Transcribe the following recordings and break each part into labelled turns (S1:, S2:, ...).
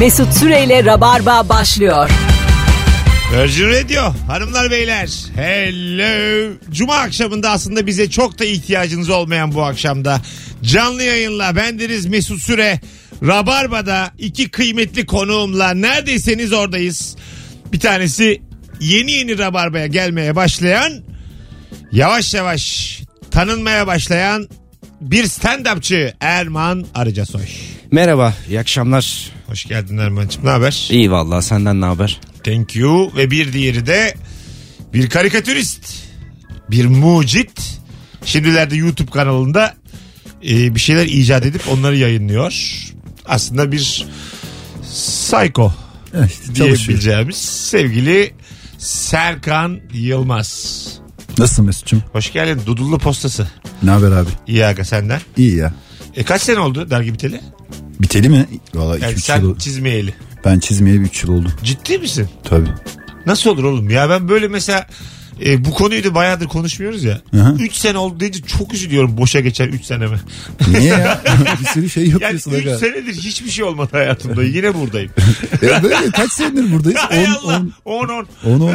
S1: Mesut Süreyle Rabarba başlıyor.
S2: Virgin Radio hanımlar beyler hello cuma akşamında aslında bize çok da ihtiyacınız olmayan bu akşamda canlı yayınla bendeniz Mesut Süre Rabarba'da iki kıymetli konuğumla neredeyseniz oradayız bir tanesi yeni yeni Rabarba'ya gelmeye başlayan yavaş yavaş tanınmaya başlayan bir stand-upçı Erman Arıcasoy.
S3: Merhaba, iyi akşamlar.
S2: Hoş geldin Erman'cığım ne haber?
S3: İyi vallahi senden ne haber?
S2: Thank you. Ve bir diğeri de bir karikatürist. Bir mucit. Şimdilerde YouTube kanalında e, bir şeyler icat edip onları yayınlıyor. Aslında bir psycho
S4: İşte çalışıyor.
S2: diyebileceğimiz sevgili Serkan Yılmaz.
S4: Nasılsın Mesut'cum?
S2: Hoş geldin Dudullu Postası.
S4: Ne haber abi?
S2: İyi aga senden.
S4: İyi ya.
S2: E kaç sene oldu dergi biteli?
S4: Biteli mi? Valla 2-3
S2: Yani
S4: yıl
S2: sen
S4: oldu.
S2: çizmeyeli.
S4: Ben çizmeye 3 yıl oldu.
S2: Ciddi misin?
S4: Tabii.
S2: Nasıl olur oğlum ya ben böyle mesela e, bu konuyu da bayağıdır konuşmuyoruz ya.
S4: hı.
S2: 3 sene oldu deyince çok üzülüyorum boşa geçen 3 seneme.
S4: Niye ya? bir sürü şey
S2: Yani 3
S4: yapıyorsun. aga.
S2: senedir hiçbir şey olmadı hayatımda yine buradayım.
S4: Ya böyle kaç senedir buradayız?
S2: Hay Allah
S4: 10
S2: 10 10.
S4: 10 10.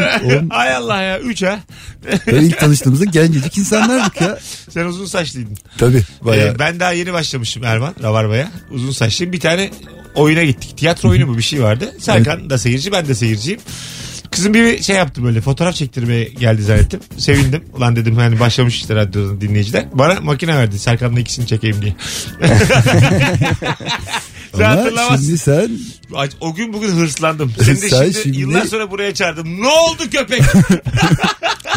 S2: Hay Allah ya 3 ha.
S4: Böyle ilk tanıştığımızda gencecik insanlardık ya.
S2: Sen uzun saçlıydın.
S4: Tabii. Bayağı.
S2: Ee, ben daha yeni başlamışım Erman Rabarba'ya. Uzun saçlıyım. Bir tane oyuna gittik. Tiyatro oyunu mu bir şey vardı. Serkan da seyirci ben de seyirciyim. Kızım bir şey yaptı böyle fotoğraf çektirmeye geldi zannettim. Sevindim. Ulan dedim hani başlamış işte radyodan dinleyiciler. Bana makine verdi Serkan'la ikisini çekeyim diye. Sen
S4: Ama
S2: hatırlamazsın.
S4: şimdi sen
S2: Ay, O gün bugün hırslandım. Seni de
S4: Sen
S2: şimdi,
S4: şimdi-
S2: yıllar sonra buraya çağırdım. Ne oldu köpek?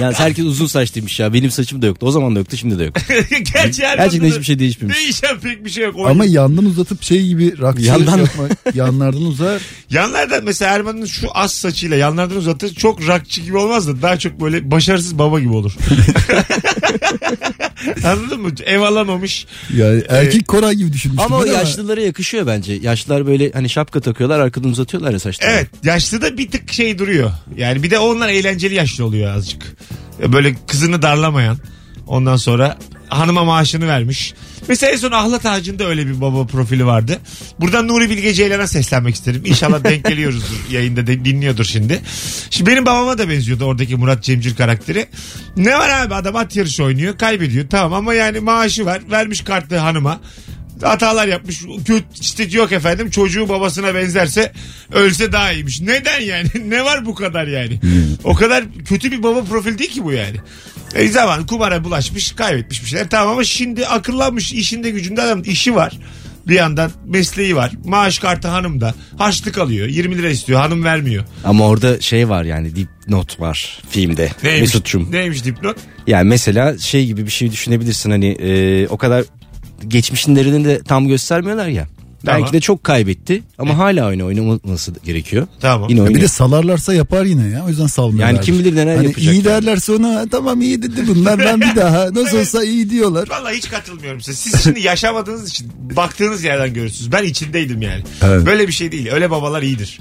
S3: Yani herkes uzun saçlıymış ya. Benim saçım da yoktu. O zaman da yoktu, şimdi de yok.
S2: Gerçi her
S3: Gerçekten
S2: konuda
S3: hiçbir şey değişmemiş.
S2: Değişen pek bir şey yok. O
S4: ama yandan uzatıp şey gibi rakçılık
S3: Yandan-
S4: yapmak. yanlardan uzar.
S2: Yanlardan mesela Erman'ın şu az saçıyla yanlardan uzatır çok rakçı gibi olmaz da daha çok böyle başarısız baba gibi olur. Anladın mı? Ev alamamış.
S4: Yani
S2: Ee,
S4: erkek Koray gibi düşünmüştüm.
S3: Ama o
S4: ben
S3: yaşlılara yakışıyor bence. Yaşlılar böyle hani şapka takıyorlar, arkadan uzatıyorlar ya saçlarını.
S2: Evet yaşlı da bir tık şey duruyor. Yani bir de onlar eğlenceli yaşlı oluyor azıcık. Böyle kızını darlamayan. Ondan sonra hanıma maaşını vermiş. Mesela en son Ahlat Ağacı'nda öyle bir baba profili vardı. Buradan Nuri Bilge Ceylan'a seslenmek isterim. İnşallah denk geliyoruzdur yayında de, dinliyordur şimdi. Şimdi benim babama da benziyordu oradaki Murat Cemcir karakteri. Ne var abi adam at yarışı oynuyor kaybediyor tamam ama yani maaşı var vermiş kartı hanıma. Hatalar yapmış. Kötü işte yok efendim çocuğu babasına benzerse ölse daha iyiymiş. Neden yani? ne var bu kadar yani? o kadar kötü bir baba profil değil ki bu yani. E zaman kumara bulaşmış kaybetmiş bir şeyler tamam ama şimdi akıllanmış işinde gücünde adam işi var. Bir yandan mesleği var. Maaş kartı hanım da. Harçlık alıyor. 20 lira istiyor. Hanım vermiyor.
S3: Ama orada şey var yani dipnot var filmde.
S2: Neymiş?
S3: Mesut'cum.
S2: Neymiş dipnot?
S3: Yani mesela şey gibi bir şey düşünebilirsin hani e, o kadar geçmişinlerini de tam göstermiyorlar ya.
S2: Tamam. E.
S3: Belki de çok kaybetti ama hala oyunu oynaması gerekiyor.
S2: Tamam.
S3: Yine
S4: Ya
S3: oynuyor.
S4: bir de salarlarsa yapar yine ya. O yüzden salmıyorlar.
S3: Yani kim bilir neler
S4: hani
S3: yapacak
S4: İyi
S3: yani.
S4: derlerse ona tamam iyi dedi bunlar ben bir daha nasıl olsa iyi diyorlar.
S2: Vallahi hiç katılmıyorum size. Siz şimdi yaşamadığınız için baktığınız yerden görürsünüz. Ben içindeydim yani.
S4: Evet.
S2: Böyle bir şey değil. Öyle babalar iyidir.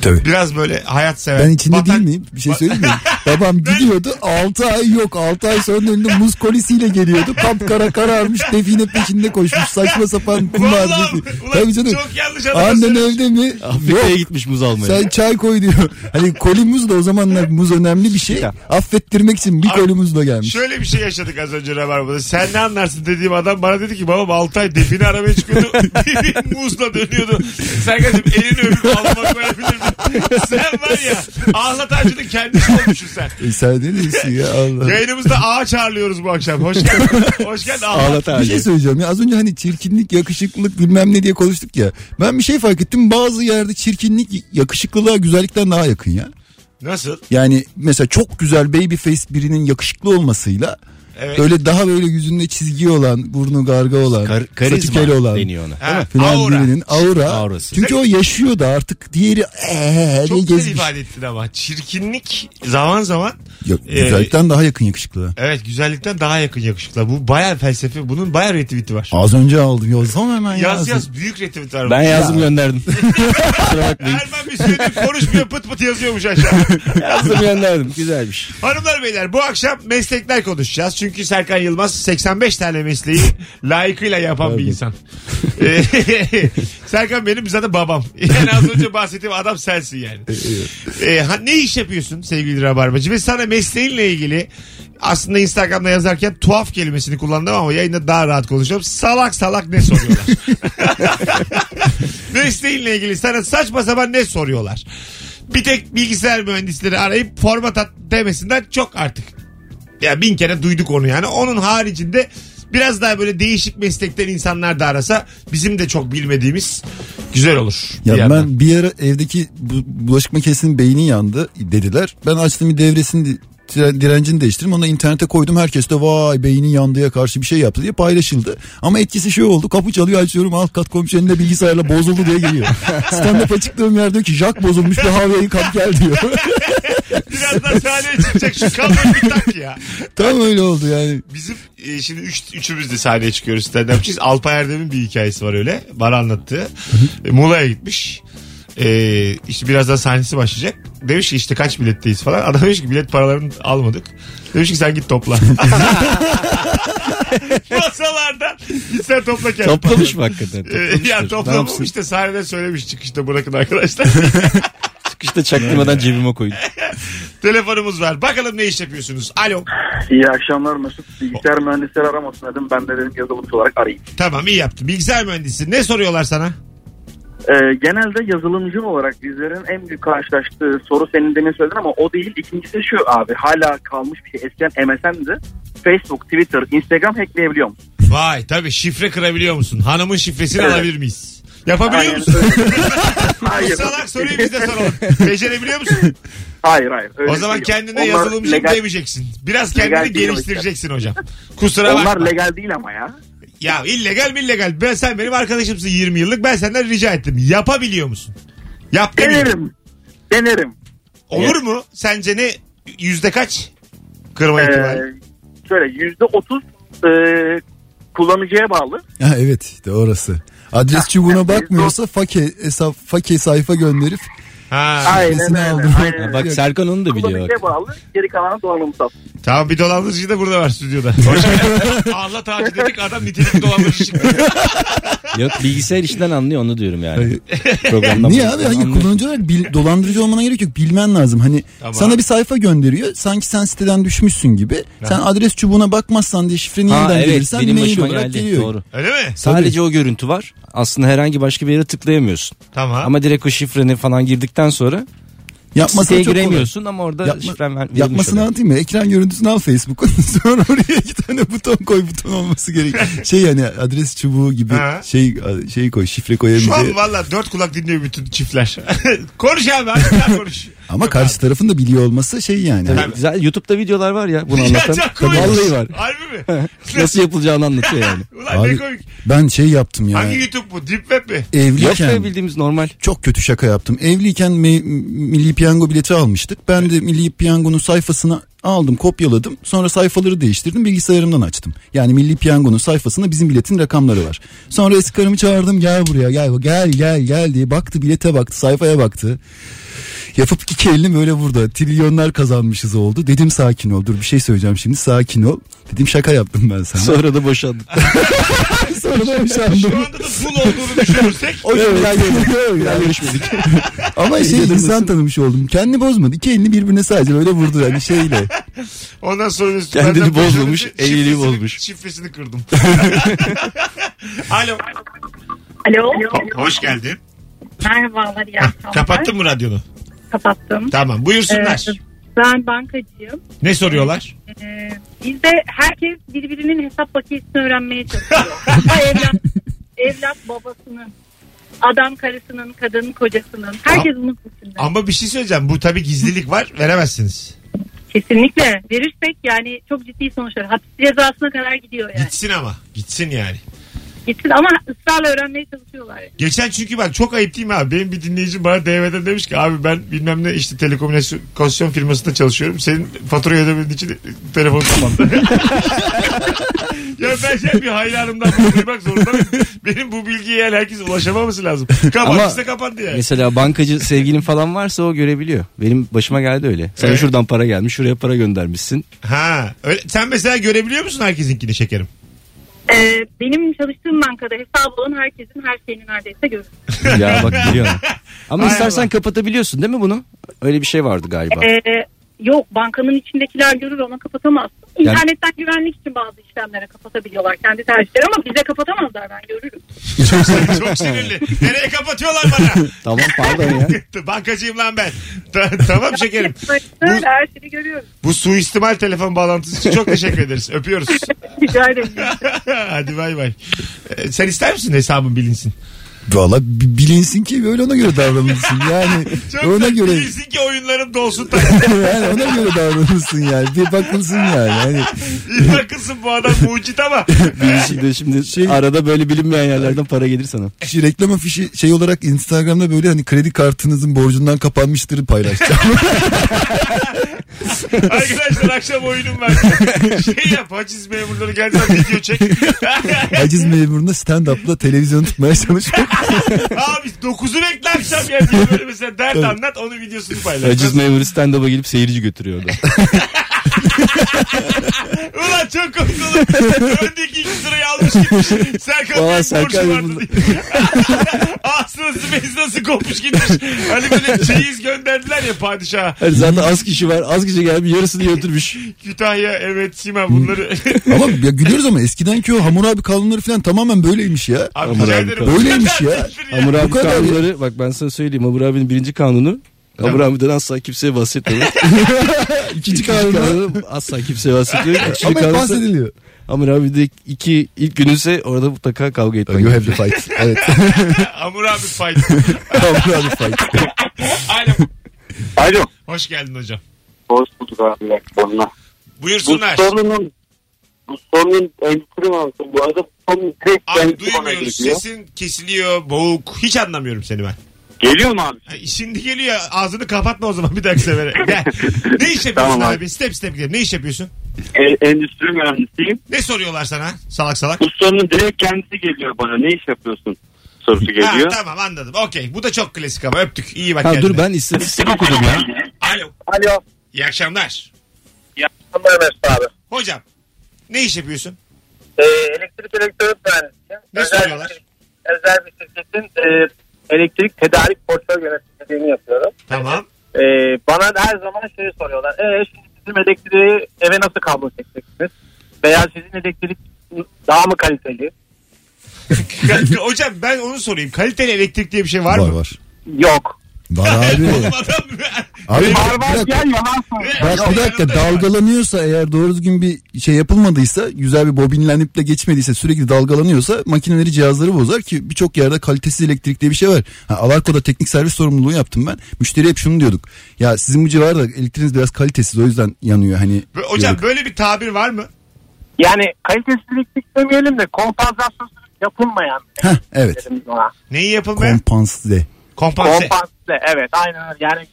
S4: Tabii.
S2: Biraz böyle hayat sever.
S4: Ben içinde
S2: Vatan-
S4: değil miyim? Bir şey söyleyeyim mi? Babam gidiyordu 6 ay yok 6 ay sonra önünde muz kolisiyle geliyordu. Kapkara kararmış define peşinde koşmuş saçma sapan kumar.
S2: Vallahi,
S4: defi-
S2: ulan
S4: Tabii canım.
S2: çok yanlış şey
S4: Annen
S2: anlamışsın.
S4: evde mi?
S3: Afrika'ya gitmiş muz almaya.
S4: Sen çay koy diyor. Hani koli muz da o zamanlar muz önemli bir şey.
S3: Ya.
S4: Affettirmek için bir koli muzla gelmiş.
S2: Şöyle bir şey yaşadık az önce Rabarba'da. Sen ne anlarsın dediğim adam bana dedi ki babam 6 ay define arabaya çıkıyordu. Biri muzla dönüyordu. Serkan'cığım elini öpüp almak koyabilir miyim? Sen var ya Ahlat Ağacı'nın kendisi olmuşsun sen.
S4: E sen ne diyorsun ya Allah.
S2: Yayınımızda ağaç ağırlıyoruz bu akşam. Hoş geldin. Hoş geldin Ahlat.
S3: Ağlat abi.
S4: Bir şey söyleyeceğim ya az önce hani çirkinlik yakışıklılık bilmem ne diye konuştuk ya. Ben bir şey fark ettim bazı yerde çirkinlik yakışıklılığa güzellikten daha yakın ya.
S2: Nasıl?
S4: Yani mesela çok güzel baby face birinin yakışıklı olmasıyla
S2: Evet.
S4: böyle daha böyle yüzünde çizgi olan, burnu garga olan,
S3: Kar-
S4: saçı kel
S3: karizma
S4: olan.
S3: deniyor ona.
S2: Ha,
S4: Filan
S2: aura.
S4: birinin aura.
S3: Aurası.
S4: Çünkü o yaşıyor da artık diğeri eee diye
S2: Çok güzel
S4: gezmiş.
S2: ifade ettin ama. Çirkinlik zaman zaman
S4: Yok,
S2: Ee,
S4: güzellikten daha yakın yakışıklığa.
S2: evet güzellikten daha yakın yakışıklı. Bu bayağı felsefe. Bunun bayağı retweet'i var.
S4: Az önce aldım yazsam hemen
S2: Yaz
S4: yazdım.
S2: yaz büyük retweet var.
S3: Ben yazdım gönderdim. Kusura bakmayın.
S2: Erman bir süredir konuşmuyor pıt pıt yazıyormuş aşağı.
S3: Yazdım gönderdim. Güzelmiş.
S2: Hanımlar beyler bu akşam meslekler konuşacağız. Çünkü Serkan Yılmaz 85 tane mesleği layıkıyla yapan bir insan. Ee, Serkan benim zaten babam. Yani az önce bahsettiğim adam sensin yani. Ee, ha- ne iş yapıyorsun sevgili Rabarbacı? Ve sana mesleğinle ilgili aslında Instagram'da yazarken tuhaf kelimesini kullandım ama yayında daha rahat konuşuyorum. Salak salak ne soruyorlar? mesleğinle ilgili sana saçma sapan ne soruyorlar? Bir tek bilgisayar mühendisleri arayıp format at demesinden çok artık. Ya bin kere duyduk onu yani. Onun haricinde biraz daha böyle değişik meslekten insanlar da arasa bizim de çok bilmediğimiz güzel olur.
S4: Ya
S2: Bir yandan.
S4: ben bir ara evdeki bu- bulaşık makinesinin beyni yandı dediler. Ben açtım bir devresini di- tire- direncini değiştirdim. Onu da internete koydum. Herkes de vay beynin yandıya karşı bir şey yaptı diye paylaşıldı. Ama etkisi şey oldu. Kapı çalıyor açıyorum. Alt kat komşunun da bilgisayarla bozuldu diye geliyor. Stand up açıktığım yer diyor ki Jack bozulmuş bir havaya kap gel diyor.
S2: Biraz daha sahneye çıkacak şu kabloyu bir tak ya.
S4: Tam öyle oldu yani.
S2: Bizim e, şimdi üç, üçümüz de sahneye çıkıyoruz stand upçıyız. Alpay Erdem'in bir hikayesi var öyle. Bana anlattı. Muğla'ya gitmiş. E, işte birazdan sahnesi başlayacak. Demiş ki işte kaç biletteyiz falan. Adam demiş ki bilet paralarını almadık. Demiş ki sen git topla. Masalardan git sen topla kendin.
S3: Toplamış mı hakikaten?
S2: E,
S3: Toplamıştır.
S2: ya
S3: Ne
S2: toplamamış
S3: yapsın?
S2: işte sahneden söylemiş çıkışta bırakın arkadaşlar.
S3: Çıkışta çaktırmadan cebime koydum.
S2: Telefonumuz var. Bakalım ne iş yapıyorsunuz. Alo.
S5: İyi akşamlar Mesut. Bilgisayar mühendisleri aramasın dedim. Ben de dedim yazılımcı olarak arayayım.
S2: Tamam iyi yaptın. Bilgisayar mühendisi. Ne soruyorlar sana?
S5: Ee, genelde yazılımcı olarak bizlerin en büyük karşılaştığı soru senin demin söyledin ama o değil. İkincisi şu abi hala kalmış bir şey. Eskiden MSN'di. Facebook, Twitter, Instagram hackleyebiliyor musun?
S2: Vay tabii şifre kırabiliyor musun? Hanımın şifresini
S5: Evet.
S2: alabilir miyiz? Yapabiliyor
S5: Aynen
S2: musun?
S5: öyle.
S2: Bu
S5: hayır.
S2: salak soruyu biz de soralım. Becerebiliyor musun?
S5: Hayır hayır. öyle
S2: o
S5: bir şey
S2: zaman
S5: yok.
S2: kendine
S5: Onlar
S2: yazılımcı
S5: legal-
S2: demeyeceksin. Biraz
S5: Legal
S2: kendini
S5: değil o
S2: geliştireceksin hocam. Kusura
S5: Onlar
S2: bakma.
S5: legal değil ama ya.
S2: Ya illegal mi illegal? Ben, sen benim arkadaşımsın 20 yıllık. Ben senden rica ettim. Yapabiliyor musun? Yap demiyorum.
S5: Denerim. Denerim.
S2: Olur mu? Sence ne? Yüzde kaç? Kırma ihtimali.
S5: Ee, şöyle yüzde otuz e, kullanıcıya bağlı.
S4: Ha, evet işte orası. Adres çubuğuna bakmıyorsa fake, hesap, fake sayfa gönderip
S2: Ha,
S5: Aynen
S4: Nesini
S5: öyle.
S4: aldın?
S3: Ha,
S5: Aynen öyle.
S3: bak Serkan onu da biliyor. Bak.
S5: Kullanıcıya bağlı. Geri kalanı donanımsal.
S2: tamam bir dolandırıcı da burada var stüdyoda. Hoş geldin. Allah tacı dedik adam nitelik dolandırıcı çıktı.
S3: Yok bilgisayar işinden anlıyor onu diyorum yani. Programdan
S4: Niye abi? Hangi
S3: Anlıyor.
S4: kullanıcı olarak bil- dolandırıcı olmana gerek yok. Bilmen lazım. Hani
S2: Tamam.
S4: sana bir sayfa gönderiyor. Sanki sen siteden düşmüşsün gibi. Sen adres çubuğuna bakmazsan diye şifreni
S3: Ha
S4: yeniden
S3: evet
S4: girirsen
S3: benim
S4: mail
S3: başıma
S4: olarak
S3: geldi.
S4: geliyor.
S3: Doğru.
S2: Öyle mi?
S3: Sadece o görüntü var. Aslında herhangi başka bir yere tıklayamıyorsun.
S2: Tamam.
S3: Ama direkt o şifreni falan girdikten sonra
S4: Yapmasına
S3: siteye
S4: çok kolay.
S3: giremiyorsun ama orada şifren
S4: Yapma,
S3: ver, verilmiş
S4: yapmasını
S3: oluyor.
S4: anlatayım mı? Ekran görüntüsünü al Facebook'un. Sonra oraya iki tane buton koy. Buton olması gerek. Şey yani adres çubuğu gibi
S2: Ha.
S4: şey şey koy. Şifre
S2: Şu an
S4: koyabileceği.
S2: valla dört kulak dinliyor bütün çiftler. konuş abi azıcık daha konuş.
S4: Ama karşı tarafın da biliyor olması şey yani.
S3: Tabii, güzel YouTube'da videolar var ya bunu anlatan.
S2: Ya çok
S3: Tabii,
S2: komik.
S3: Vallahi var.
S2: Harbi mi?
S3: Nasıl yapılacağını anlatıyor yani.
S2: Ulan ne
S4: Abi,
S2: komik.
S4: ben şey yaptım ya.
S2: Hangi
S3: e,
S2: YouTube bu? Deep Web mi?
S3: Yok
S4: Evliyken.
S3: be bildiğimiz normal.
S4: çok kötü şaka yaptım. Evliyken me- Milli Piyango bileti almıştık. Ben de Milli Piyango'nun sayfasını aldım, kopyaladım. Sonra sayfaları değiştirdim, bilgisayarımdan açtım. Yani Milli Piyango'nun sayfasında bizim biletin rakamları var. Sonra eski karımı çağırdım, gel buraya, gel, gel, gel, gel diye baktı, bilete baktı, sayfaya baktı. Yapıp iki elim böyle burada trilyonlar kazanmışız oldu. Dedim sakin ol, dur bir şey söyleyeceğim şimdi, sakin ol. Dedim şaka yaptım ben sana.
S3: Sonra da boşandık.
S4: Sonra da şey boşandım.
S2: Şu anda da full olduğunu düşünürsek.
S4: O gün bir daha görmedik. Bir daha görüşmedik. Ama şey insan tanımış oldum. Kendi bozmadı. İki elini birbirine sadece böyle vurdu yani şeyle.
S2: Ondan sonra Mesut
S3: Kendini
S2: benden boşanınca
S3: bozmamış,
S2: şifresini-
S3: evliliği bozmuş.
S2: Şifresini kırdım. Alo.
S6: Alo.
S2: Ho- Hoş geldin.
S6: Merhabalar iyi akşamlar.
S2: Kapattın mı radyonu?
S6: Kapattım.
S2: Tamam
S6: Ee,
S2: buyursunlar.
S6: ben bankacıyım.
S2: Ne soruyorlar?
S6: Ee, bizde herkes birbirinin hesap makinesini öğrenmeye çalışıyor. Ama evlat, evlat babasının, adam karısının, kadının kocasının. Herkes bunun peşinde.
S2: Ama bir şey söyleyeceğim. Bu tabii gizlilik var. Veremezsiniz.
S6: Kesinlikle. Verirsek yani çok ciddi sonuçlar. Hapis cezasına kadar gidiyor yani.
S2: Gitsin ama. Gitsin yani.
S6: gitsin ama ısrarla öğrenmeye çalışıyorlar. yani.
S2: Geçen çünkü ben çok ayıp değil mi abi? Benim bir dinleyicim bana DM'den demiş ki abi ben bilmem ne işte telekomünikasyon firmasında çalışıyorum. Senin faturayı ödemediğin için telefon kapandı. ya ben şey bir hayranımdan bunu duymak zorunda mıyım? Benim bu bilgiye yani herkes ulaşamaması lazım. Kapattıysa
S3: Ama-
S2: kapandı yani.
S3: Mesela bankacı sevgilin falan varsa o görebiliyor. Benim başıma geldi öyle. Sana
S2: Evet.
S3: şuradan para gelmiş şuraya para göndermişsin.
S2: Ha, öyle, sen mesela görebiliyor musun herkesinkini şekerim?
S6: Ee, benim çalıştığım bankada hesabı olan herkesin her şeyini neredeyse görürsün.
S3: Ya bak biliyorum. Ama
S2: Hay
S3: istersen
S2: Allah.
S3: kapatabiliyorsun değil mi bunu? Öyle bir şey vardı galiba.
S6: Ee, yok bankanın içindekiler görür ama kapatamazsın. İnternetten güvenlik için bazı işlemlere kapatabiliyorlar kendi tercihleri ama bize kapatamazlar ben görürüm.
S2: çok sinirli. Nereye kapatıyorlar bana?
S3: Tamam pardon ya.
S2: Bankacıyım lan ben. Ta- tamam şekerim.
S6: Böyle her şeyi görüyoruz.
S2: Bu suistimal telefon bağlantısı için çok teşekkür ederiz. Öpüyoruz.
S6: Rica ederim.
S2: Hadi bay bay. Ee, sen ister misin hesabın bilinsin?
S4: Valla bi- bilinsin ki böyle ona göre davranılsın. Yani
S2: Çok
S4: ona
S2: da
S4: göre
S2: Bilinsin ki oyunlarım dolsun.
S4: yani ona göre davranılsın yani. Bir bakılsın yani. Hani
S2: İyi bakılsın bu adam mucit ama.
S3: Şimdi, şey şimdi
S2: Şey-
S3: arada böyle bilinmeyen yerlerden para gelir sana.
S4: şu reklama fişi şey olarak Instagram'da böyle hani kredi kartınızın borcundan kapanmıştır paylaşacağım.
S2: Arkadaşlar akşam oyunum var. Şey yap haciz memurları geldi video çek.
S4: Haciz memuruna stand-up'la televizyon tutmaya çalışıyor.
S2: Abi 9'u bekle akşam ya diye böyle mesela dert anlat onun videosunu paylaş.
S3: Aciz memuru stand-up'a gelip seyirci götürüyor orada.
S2: Ulan çok komik olur. Öndeki iki sırayı almış gitmiş. Serkan
S3: Valla
S2: Bey'in
S3: Serkan
S2: borcu
S3: Bey
S2: vardı
S3: bunu-
S2: diye. Ağzına sümeysi nasıl kopmuş gitmiş. Hani böyle çeyiz gönderdiler ya padişaha.
S3: Hani zaten az kişi var. Az kişi gelmiş yarısını götürmüş.
S2: Kütahya evet Sima bunları.
S3: Hmm.
S4: ama ya gülüyoruz ama eskidenki o Hammurabi kanunları falan tamamen böyleymiş ya.
S2: Abi
S3: Hamur
S2: rica
S3: abi
S2: ederim.
S4: kanun. Öyleymiş ya.
S3: Hamur abi
S4: kadar ya.
S3: kanunları bak ben sana söyleyeyim. Hamur abinin birinci kanunu. Hamur abiden asla kimseye bahsetmiyor. İkinci kanunu asla kimseye bahsetmiyor. Üçüncü
S4: Ama hep
S3: kanunu
S4: bahsediliyor.
S3: Hamur abi de iki ilk gününse orada mutlaka kavga etmek.
S4: You have the fight. Evet.
S2: Hamur abi fight.
S4: Hammurabi fight.
S2: Alo.
S5: Alo.
S2: Hoş geldin hocam.
S5: Hoş bulduk abi. iyi akşamlar. Bu
S2: Buyursunlar.
S5: sorunun bu sorunun endüstri mantığı. Bu arada bu sorunun direkt
S2: Abi
S5: kendisi bana
S2: duymuyoruz.
S5: geliyor.
S2: Sesin kesiliyor, boğuk. Hiç anlamıyorum seni ben.
S5: Geliyor mu abi?
S2: Ay, Şimdi geliyor ağzını kapatma o zaman bir dahaki sefere. Gel. Ne iş yapıyorsun
S5: Tamam
S2: abi?
S5: abi.
S2: Step step gidelim. Ne iş yapıyorsun?
S5: E, endüstri mühendisiyim.
S2: Ne soruyorlar sana? Salak salak.
S5: Bu sorunun direkt kendisi geliyor bana. Ne iş yapıyorsun? Sorusu
S2: Ha,
S5: geliyor.
S2: tamam anladım. Okey. Bu da çok klasik ama öptük. İyi bak
S3: Ha
S2: kendine.
S3: dur ben istatistik okudum ya.
S2: Alo.
S5: Alo.
S2: İyi akşamlar.
S5: İyi akşamlar Mesut abi.
S2: Hocam. Ne iş yapıyorsun?
S5: Ee, elektrik elektronik mühendisiyim.
S2: Ne soruyorlar?
S5: Bir, özel bir şirketin e, elektrik tedarik portföy yöneticiliğini yapıyorum.
S2: Tamam.
S5: E, bana her zaman şeyi soruyorlar. E, şimdi bizim elektriği eve nasıl kablo çekeceksiniz? Veya sizin elektrik daha mı kaliteli?
S2: Hocam ben onu sorayım. Kaliteli elektrik diye bir şey var,
S4: Var
S2: mı?
S4: var.
S5: Yok.
S4: Var abi.
S2: Oğlum adam
S4: Abi bir
S5: Var var
S4: dakika.
S5: gel yalan söylüyor.
S4: Bak bir dakika dalgalanıyorsa eğer doğru düzgün bir şey yapılmadıysa güzel bir bobinlenip de geçmediyse sürekli dalgalanıyorsa makineleri cihazları bozar ki birçok yerde kalitesiz elektrik diye bir şey var. Ha, Alarko'da teknik servis sorumluluğu yaptım ben. Müşteri hep şunu diyorduk. Ya sizin bu civarda elektriğiniz biraz kalitesiz o yüzden yanıyor hani.
S2: Hocam
S4: diyorduk.
S2: böyle bir tabir var mı?
S5: Yani kalitesizlik demeyelim de kompansasyonsuz yapılmayan
S4: Heh, evet.
S5: dedim ona.
S2: Neyi yapılmaya?
S4: Kompansize.
S2: Kompanse.
S5: Kompansize evet aynen öyle. Yani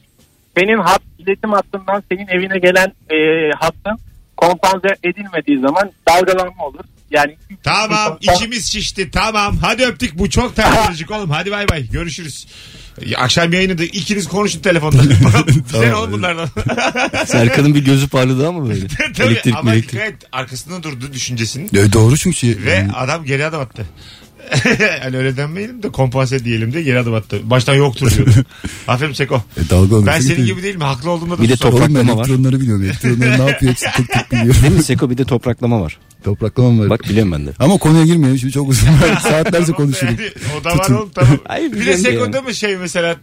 S5: senin hat iletim hattından senin evine gelen e, hattın kompanse edilmediği zaman dalgalanma olur. Yani
S2: Tamam içimiz şişti tamam hadi öptük bu çok teknolojik oğlum hadi bay bay görüşürüz. Ya, Akşam yayını da ikiniz konuşun telefonda. Güzel
S4: Tamam.
S2: oğlum bunlardan.
S3: Serkan'ın bir gözü parladı ama böyle.
S2: Tabii
S3: elektrik
S2: ama
S3: elektrik.
S2: dikkat et, arkasında durdu düşüncesinin.
S4: E, doğru çünkü şey.
S2: Ve adam geri adım attı. hani öyle demeyelim de kompanse diyelim de geri adım attı. Baştan yoktur diyordu. Aferin Seko.
S4: E, dalgalanıyorsa
S2: Ben senin
S4: gidiyor.
S2: gibi değilim. Haklı olduğumda da
S3: Bir de
S2: kusura bakma.
S4: Oğlum ben
S3: Topraklama var.
S4: elektronları biliyorum. Elektronları ne yapıyor hepsi tek tek biliyorum.
S3: Değil mi Seko bir de topraklama var.
S4: Topraklama var.
S3: Bak biliyorum ben de.
S4: Ama konuya girmeyelim şimdi çok uzun. Saatlerce konuşuruz.
S2: Yani o da var oğlum tamam.
S3: Ay,
S2: bir de
S3: bilmiyorum
S2: Seko'da
S3: yani.
S2: mı şey mesela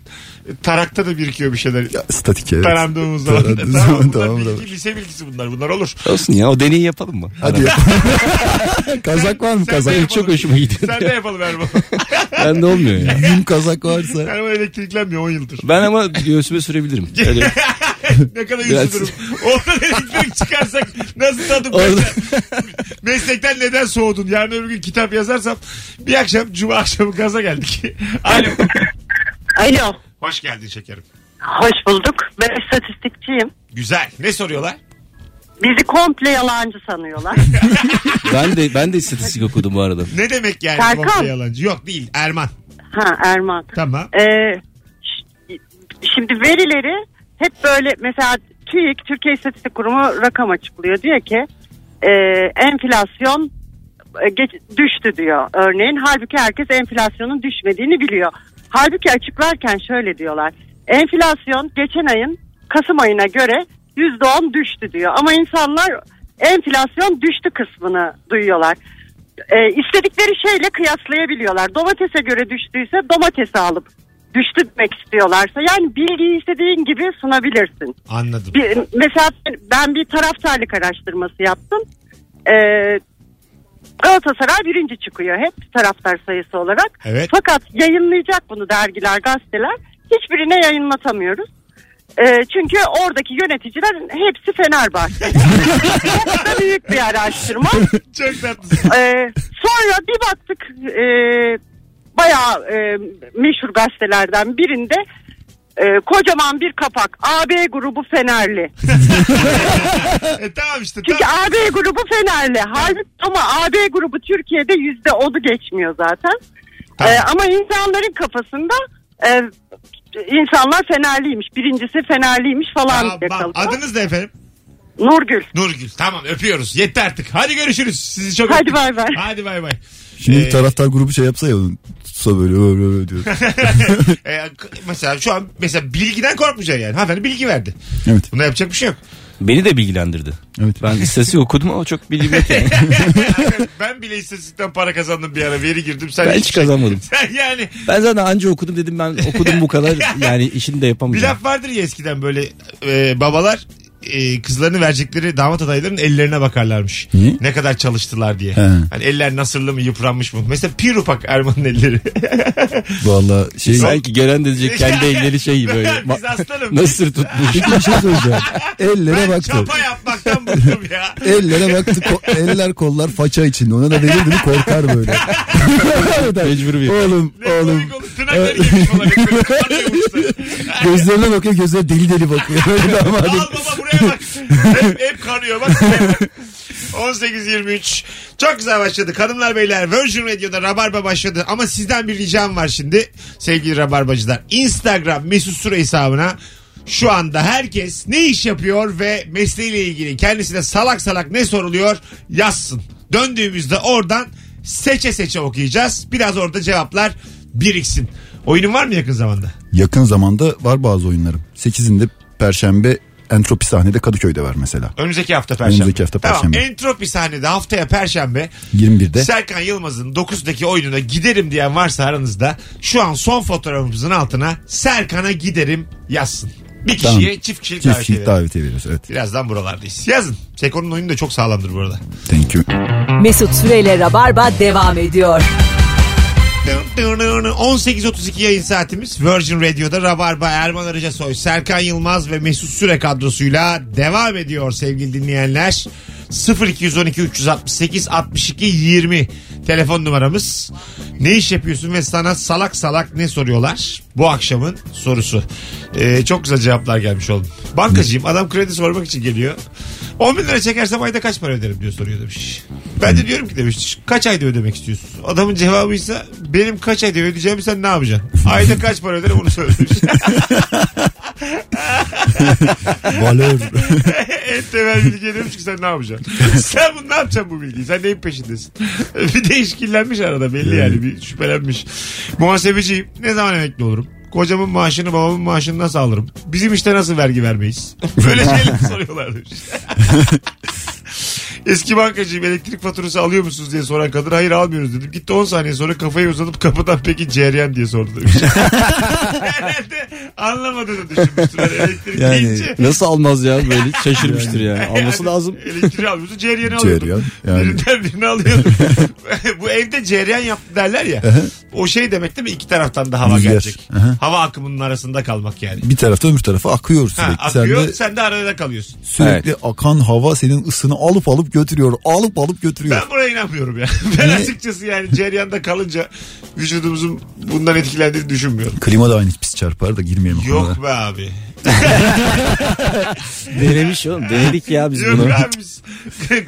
S2: tarakta da birikiyor bir şeyler.
S4: Ya, statik evet.
S2: Tarandığımız zaman.
S4: Tarandığı
S2: tamam,
S4: zaman,
S2: bunlar
S4: tamam,
S2: bilgi,
S4: tamam.
S2: lise bilgisi bunlar. Bunlar olur.
S3: Olsun ya o deneyi yapalım mı?
S4: Hadi ya. kazak var mı
S2: Sen de
S4: kazak?
S2: yapalım.
S3: çok hoşuma gidiyor.
S2: Sen de yapalım Erman.
S3: Ben de olmuyor ya.
S4: Yün kazak varsa.
S2: Erman elektriklenmiyor 10 yıldır.
S3: Ben ama göğsüme sürebilirim. Öyle
S2: ne kadar yüzlü
S3: Biraz-
S2: durum. Oradan elektrik çıkarsak nasıl tadım
S3: Orada-
S2: kaçar? Meslekten neden soğudun? Yarın öbür gün kitap yazarsam bir akşam cuma akşamı gaza geldik. Alo.
S7: Alo,
S2: Hoş geldin şekerim.
S7: hoş bulduk. Ben istatistikçiyim.
S2: Güzel. Ne soruyorlar?
S7: Bizi komple yalancı sanıyorlar.
S3: Ben de ben de istatistik okudum bu arada.
S2: Ne demek yani
S7: Serkan.
S2: komple yalancı? Yok değil. Erman.
S7: ha Erman.
S2: Tamam.
S7: Ee, ş- şimdi verileri hep böyle mesela TÜİK, Türkiye İstatistik Kurumu rakam açıklıyor. Diyor ki e, enflasyon e, geç- düştü diyor örneğin. Halbuki herkes enflasyonun düşmediğini biliyor. Halbuki açıklarken şöyle diyorlar. Enflasyon geçen ayın Kasım ayına göre %10 düştü diyor. Ama insanlar enflasyon düştü kısmını duyuyorlar e, istedikleri şeyle kıyaslayabiliyorlar. Domatese göre düştüyse domatesi alıp düştü demek istiyorlarsa yani bilgiyi istediğin gibi sunabilirsin.
S2: Anladım.
S7: Bir, mesela ben bir taraftarlık araştırması yaptım. E, Galatasaray birinci çıkıyor hep taraftar sayısı olarak.
S2: Evet.
S7: Fakat yayınlayacak bunu dergiler, gazeteler. Hiçbirine yayınlatamıyoruz. E, çünkü oradaki yöneticilerin hepsi Fenerbahçe'de. Bu da büyük bir araştırma.
S2: Çok tatlısın.
S7: Ee, sonra bir baktık e, bayağı e, meşhur gazetelerden birinde e, kocaman bir kapak. AB grubu Fenerli.
S2: e, tamam işte.
S7: Çünkü
S2: Tamam.
S7: AB grubu Fenerli. Halbuki ama AB grubu Türkiye'de yüzde odu geçmiyor zaten.
S2: Tamam.
S7: Ee, ama insanların kafasında e, insanlar Fenerliymiş. Birincisi Fenerliymiş falan diye
S2: Tamam.
S7: kalıyor.
S2: Adınız ne efendim?
S7: Nurgül.
S2: Nurgül. Tamam öpüyoruz. Yetti artık. Hadi görüşürüz. Sizi çok
S7: Hadi
S2: öptük.
S7: bay bay.
S2: Hadi bay bay.
S4: Şimdi
S2: Ee,
S4: taraftar grubu şey yapsa ya tutsa böyle ö, ö, ö diyor.
S2: e, mesela şu an mesela bilgiden korkmayacaksın yani. Hanımefendi bilgi verdi.
S4: Evet.
S2: Buna yapacak bir şey yok.
S3: Beni de bilgilendirdi.
S4: Evet.
S3: Ben istatistik okudum ama çok bilgim yok yani.
S2: ben bile istatistikten para kazandım bir ara. Veri girdim. Sen
S3: Ben
S2: hiçbir
S3: hiç
S2: şey-
S3: kazanmadım.
S2: Sen yani
S3: Ben zaten anca okudum dedim ben okudum bu kadar yani işini de
S2: bir
S3: yapamayacağım.
S2: laf vardır ya eskiden böyle e, babalar e, kızlarını verecekleri damat adaylarının ellerine bakarlarmış.
S4: Niye?
S2: Ne kadar çalıştılar diye.
S4: He.
S2: Hani eller nasırlı mı yıpranmış mı? Mesela pir ufak Erman'ın elleri.
S4: Valla şey...
S3: Sanki gelen de diyecek E, kendi elleri şey böyle. ma-
S2: Biz aslanım.
S3: Nasır tutmuş.
S4: Peki bir şey söyleyeceğim. Ellere
S2: Ben
S4: baktı.
S2: çapa yapmaktan bıktım ya.
S4: Ellere baktı. ko- eller kollar faça içinde. Ona da verir mi korkar böyle.
S3: Mecbur bir.
S4: oğlum
S2: Ne
S4: oğlum.
S2: komik olur. Tırnakları yemiş falan. Böyle kanıyormuşlar.
S4: Gözlerine bakıyor gözleri deli deli bakıyor. Öyle
S2: Al
S4: damadım.
S2: baba buraya bak. Hep, hep kanıyor bak. buraya bak. 18-23. Çok güzel başladık. Hanımlar beyler Virgin Radio'da Rabarba başladı. Ama sizden bir ricam var şimdi sevgili Rabarbacılar. Instagram Mesut Süre hesabına şu anda herkes ne iş yapıyor ve mesleğiyle ilgili kendisine salak salak ne soruluyor yazsın. Döndüğümüzde oradan seçe seçe okuyacağız. Biraz orada cevaplar biriksin. Oyunun var mı yakın zamanda?
S4: Yakın zamanda var bazı oyunlarım. 8'inde Perşembe Entropi sahnede Kadıköy'de var mesela.
S2: Önümüzdeki hafta perşembe.
S4: Önümüzdeki hafta perşembe.
S2: Tamam. Entropi sahnede haftaya perşembe.
S4: 21'de.
S2: Serkan Yılmaz'ın 9'daki oyununa giderim diyen varsa aranızda şu an son fotoğrafımızın altına Serkan'a giderim yazsın. Bir kişiye
S4: Tamam.
S2: çift kişilik
S4: Çift
S2: davet
S4: kişilik
S2: edelim.
S4: davetiye veriyoruz. Evet.
S2: Birazdan buralardayız. Yazın. Seko'nun oyunu da çok sağlamdır bu arada.
S4: Thank you.
S1: Mesut Süreyle Rabarba devam ediyor.
S2: 18.32 yayın saatimiz Virgin Radio'da Rabarba Erman Arıca Soy, Serkan Yılmaz ve Mesut Süre kadrosuyla devam ediyor sevgili dinleyenler. 0212 368 62 20 telefon numaramız. Ne iş yapıyorsun ve sana salak salak ne soruyorlar? Bu akşamın sorusu. Ee, çok güzel cevaplar gelmiş oldu. Bankacıyım adam kredi sormak için geliyor. 10 bin lira çekersem ayda kaç para öderim diyor soruyor demiş. Ben de diyorum ki demiş kaç ayda ödemek istiyorsun? Adamın cevabıysa benim kaç ayda ödeyeceğimi sen ne yapacaksın? Ayda kaç para öderim onu söylemiş.
S4: Valor.
S2: en temel bilgi demiş ki sen ne yapacaksın? sen bunu ne yapacaksın bu bilgiyi? Sen neyin peşindesin? bir de işkillenmiş arada belli yani bir şüphelenmiş. Muhasebeciyim. Ne zaman emekli olurum? Kocamın maaşını babamın maaşını nasıl alırım? Bizim işte nasıl vergi vermeyiz? Böyle şeyler soruyorlar demiş. Eski bankacıyım elektrik faturası alıyor musunuz diye soran kadın hayır almıyoruz dedim. Gitti 10 saniye sonra kafayı uzatıp kapıdan peki cereyan diye sordu demiş. Herhalde anlamadığını düşünmüştür. Hani elektrik
S4: Yani
S2: deyince.
S3: Nasıl almaz ya böyle şaşırmıştır yani. Alması lazım.
S2: Elektriği almıyorsun cereyeni alıyordun.
S4: Cereyan. Yani
S2: Birinden birini alıyordun. Bu evde cereyan yaptı derler ya. o şey demek değil mi? İki taraftan da hava
S4: Rüzgar.
S2: gelecek.
S4: Aha.
S2: Hava akımının arasında kalmak yani.
S4: bir tarafta öbür tarafa akıyor
S2: Ha,
S4: sürekli.
S2: akıyor sen
S4: Sen
S2: de,
S4: de
S2: arada kalıyorsun.
S4: sürekli akan hava senin ısını alıp alıp götürüyor. Alıp alıp götürüyor.
S2: Ben buna inanmıyorum ya. Ben
S4: Niye?
S2: açıkçası yani ceryanda kalınca vücudumuzun bundan etkilendiğini düşünmüyorum.
S4: Klima da aynı pis çarpar da girmeyelim. konulara.
S2: Yok be abi.
S3: Denemiş oğlum. Denedik ya biz
S2: Yok
S3: bunu.
S2: be abi. biz-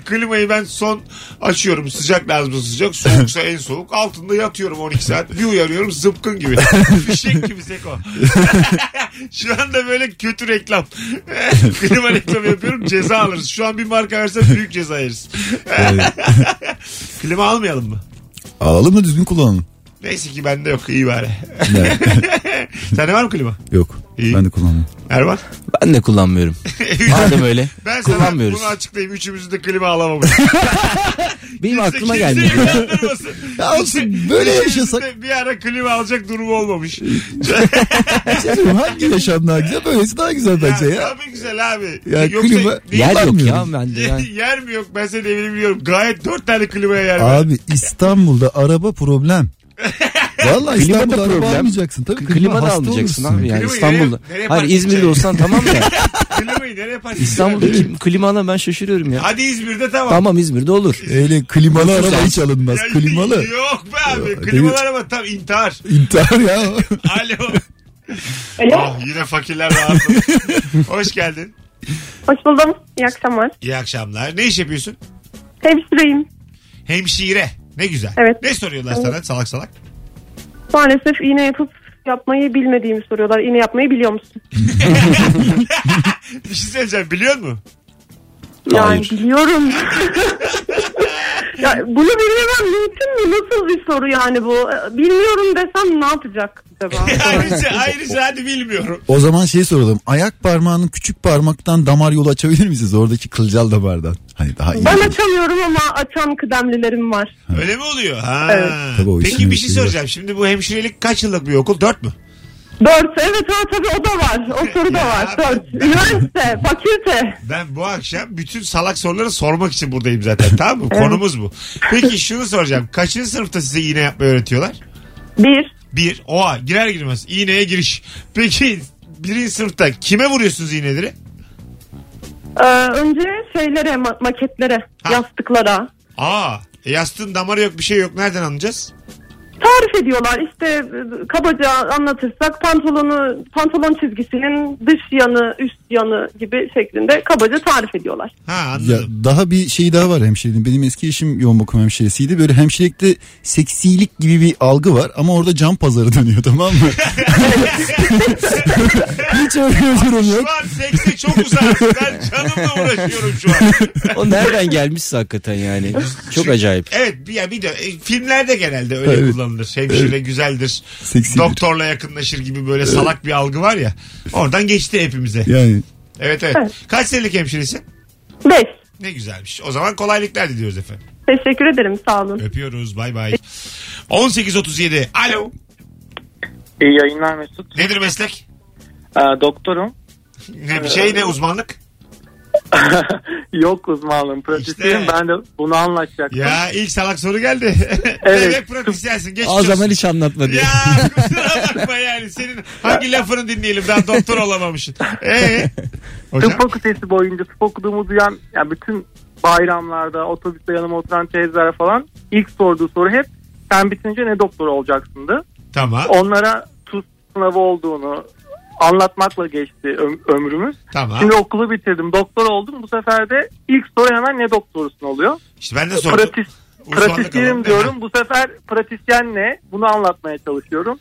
S2: Klimayı ben son açıyorum. Sıcak lazım sıcak. Soğuksa en soğuk. Altında yatıyorum 12 saat. Bir uyanıyorum zıpkın gibi. Fişek gibi seko. Şu anda böyle kötü reklam. Klima reklamı yapıyorum ceza alırız. Şu an bir marka verse büyük ceza yeriz. Klima almayalım mı?
S4: Alalım da düzgün kullanalım.
S2: Neyse ki bende yok iyi bari.
S4: Yani,
S2: Sende var mı klima?
S4: yok.
S2: İyi.
S4: Ben de kullanmam.
S2: Erman?
S3: Ben de kullanmıyorum. Madem öyle.
S2: Ben sana
S3: kullanmıyoruz.
S2: bunu açıklayayım. Üçümüzün de klima alamamış.
S3: Benim aklıma
S2: Kimse-
S3: geldi.
S2: kimse inandırmasın.
S4: Ya olsun, böyle
S2: İkimizin
S4: yaşasak-
S2: de Bir ara klima alacak durumu olmamış.
S4: Hangi yaşam daha güzel? Böylesi daha güzel bence ya.
S2: Tabii güzel abi.
S4: Ya
S2: Yoksa
S4: klima-
S2: değil-
S3: Yer yok ya
S4: Kullanmıyorum.
S3: bende. Yani.
S2: yer mi yok? Ben senin evini biliyorum. Gayet dört tane klimaya yer var.
S4: Abi İstanbul'da araba problem. Vallahi
S3: Klima da
S4: İstanbul'da araba
S3: problem.
S4: almayacaksın. Tabii
S3: Klima da
S4: hasta
S3: almayacaksın
S4: olursun.
S3: abi yani
S2: Klimayı
S3: İstanbul'da.
S2: nereye-
S3: Hayır
S2: nereye park
S3: İzmir'de
S2: edeceksin?
S3: olsan tamam da
S2: Klimayı nereye yaparsın?
S3: İstanbul'da kim, klimana ben şaşırıyorum ya.
S2: Hadi İzmir'de tamam.
S3: Tamam İzmir'de olur.
S4: Öyle klimalı
S3: Nasıl
S4: araba
S3: sen?
S4: hiç alınmaz.
S2: Ya-
S4: Klimalı.
S2: Yok be abi.
S4: Ya,
S2: Klimalı
S4: değil.
S2: araba tam intihar.
S4: İntihar ya.
S2: Alo. Ah, yine fakirler rahatladı. Hoş geldin.
S8: Hoş buldum. İyi akşamlar.
S2: İyi akşamlar. Ne iş yapıyorsun?
S8: Hemşireyim.
S2: Hemşire. Ne güzel.
S8: Evet.
S2: Ne soruyorlar sana salak salak?
S8: Maalesef iğne yapıp yapmayı bilmediğimi soruyorlar. İğne yapmayı biliyor musun?
S2: Bir şey söyleyeceğim biliyor musun?
S8: Yani
S3: Hayır.
S8: biliyorum. ya bunu bilmemem mümkün mü? Nasıl bir soru yani bu? Bilmiyorum desem ne yapacak acaba?
S2: ayrıca, ayrıca hadi bilmiyorum.
S4: O zaman şey soralım. Ayak parmağının küçük parmaktan damar yolu açabilir misiniz? Oradaki kılcal damardan. Hani daha iyi.
S8: ben
S4: olur.
S8: açamıyorum ama açan kıdemlilerim var.
S2: Öyle mi oluyor? Ha.
S8: Evet.
S4: Tabii o işin
S2: Peki bir şey
S4: etkisi var.
S2: soracağım. Şimdi bu hemşirelik kaç yıllık bir okul? Dört mü?
S8: Dört. Evet ha, tabii o da var. O soru da
S2: Ya
S8: var.
S2: ben-
S8: Dört. Üniversite, fakülte.
S2: Ben bu akşam bütün salak soruları sormak için buradayım zaten. Tamam mı? Konumuz bu. Peki şunu soracağım. Kaçıncı sınıfta size iğne yapmayı öğretiyorlar?
S8: Bir.
S2: Bir. Oha girer girmez. iğneye giriş. Peki birinci sınıfta kime vuruyorsunuz iğneleri?
S8: Ee, önce şeylere, ma- maketlere,
S2: Ha.
S8: yastıklara.
S2: Aa. e yastığın damarı yok bir şey yok. Nereden anlayacağız?
S8: tarif ediyorlar işte e, kabaca anlatırsak pantolonu pantolon çizgisinin dış yanı üst yanı gibi şeklinde kabaca tarif ediyorlar.
S2: Ha
S4: Ya
S2: anladım.
S4: daha bir şey daha var hemşirenin. Benim eski eşim yoğun bakım hemşiresiydi. Böyle hemşirelikte seksilik gibi bir algı var ama orada can pazarı dönüyor tamam mı? Hiç öyle bir durum yok.
S2: Şu an sekse çok uzak. Ben canımla uğraşıyorum şu an.
S3: O nereden gelmişse hakikaten yani. Çok acayip.
S2: Evet bir, ya bir de e, filmlerde genelde öyle
S4: Evet.
S2: kullanılır. Hemşire güzeldir.
S4: Seksidir.
S2: Doktorla yakınlaşır gibi böyle salak bir algı var ya. Oradan geçti hepimize.
S4: Yani
S2: Evet evet. Kaç senelik hemşiresin?
S8: Beş.
S2: Ne güzelmiş. O zaman kolaylıklar diliyoruz efendim.
S8: Teşekkür ederim sağ olun.
S2: Öpüyoruz. Bay bay. 18.37. Alo.
S5: İyi yayınlar Mesut.
S2: Nedir meslek?
S5: Ee, doktorum.
S2: Ne bir şey ne uzmanlık?
S5: Yok uzmanlığım pratisyeyim.
S2: İşte.
S5: Ben de bunu anlaşacaktım.
S2: Ya ilk salak soru geldi.
S5: Evet.
S2: Bebek pratisyensin. Geç
S3: O zaman hiç anlatma diye.
S2: Ya kusura bakma yani. Senin hangi lafını dinleyelim? Daha doktor olamamışsın. Ee? Hocam?
S5: Tıp fakültesi boyunca tıp okuduğumu duyan yani bütün bayramlarda otobüste yanıma oturan teyzeler falan ilk sorduğu soru hep sen bitince ne doktor olacaksındı.
S2: Tamam.
S5: Onlara tuz sınavı olduğunu anlatmakla geçti öm- ömrümüz.
S2: Tamam.
S5: Şimdi okulu bitirdim doktor oldum bu sefer de ilk soru hemen ne doktorusun oluyor.
S2: İşte ben de sordum.
S5: Pratis,
S2: Uzmanlık alanı.
S5: pratisyenim diyorum bu sefer pratisyen ne bunu anlatmaya çalışıyorum.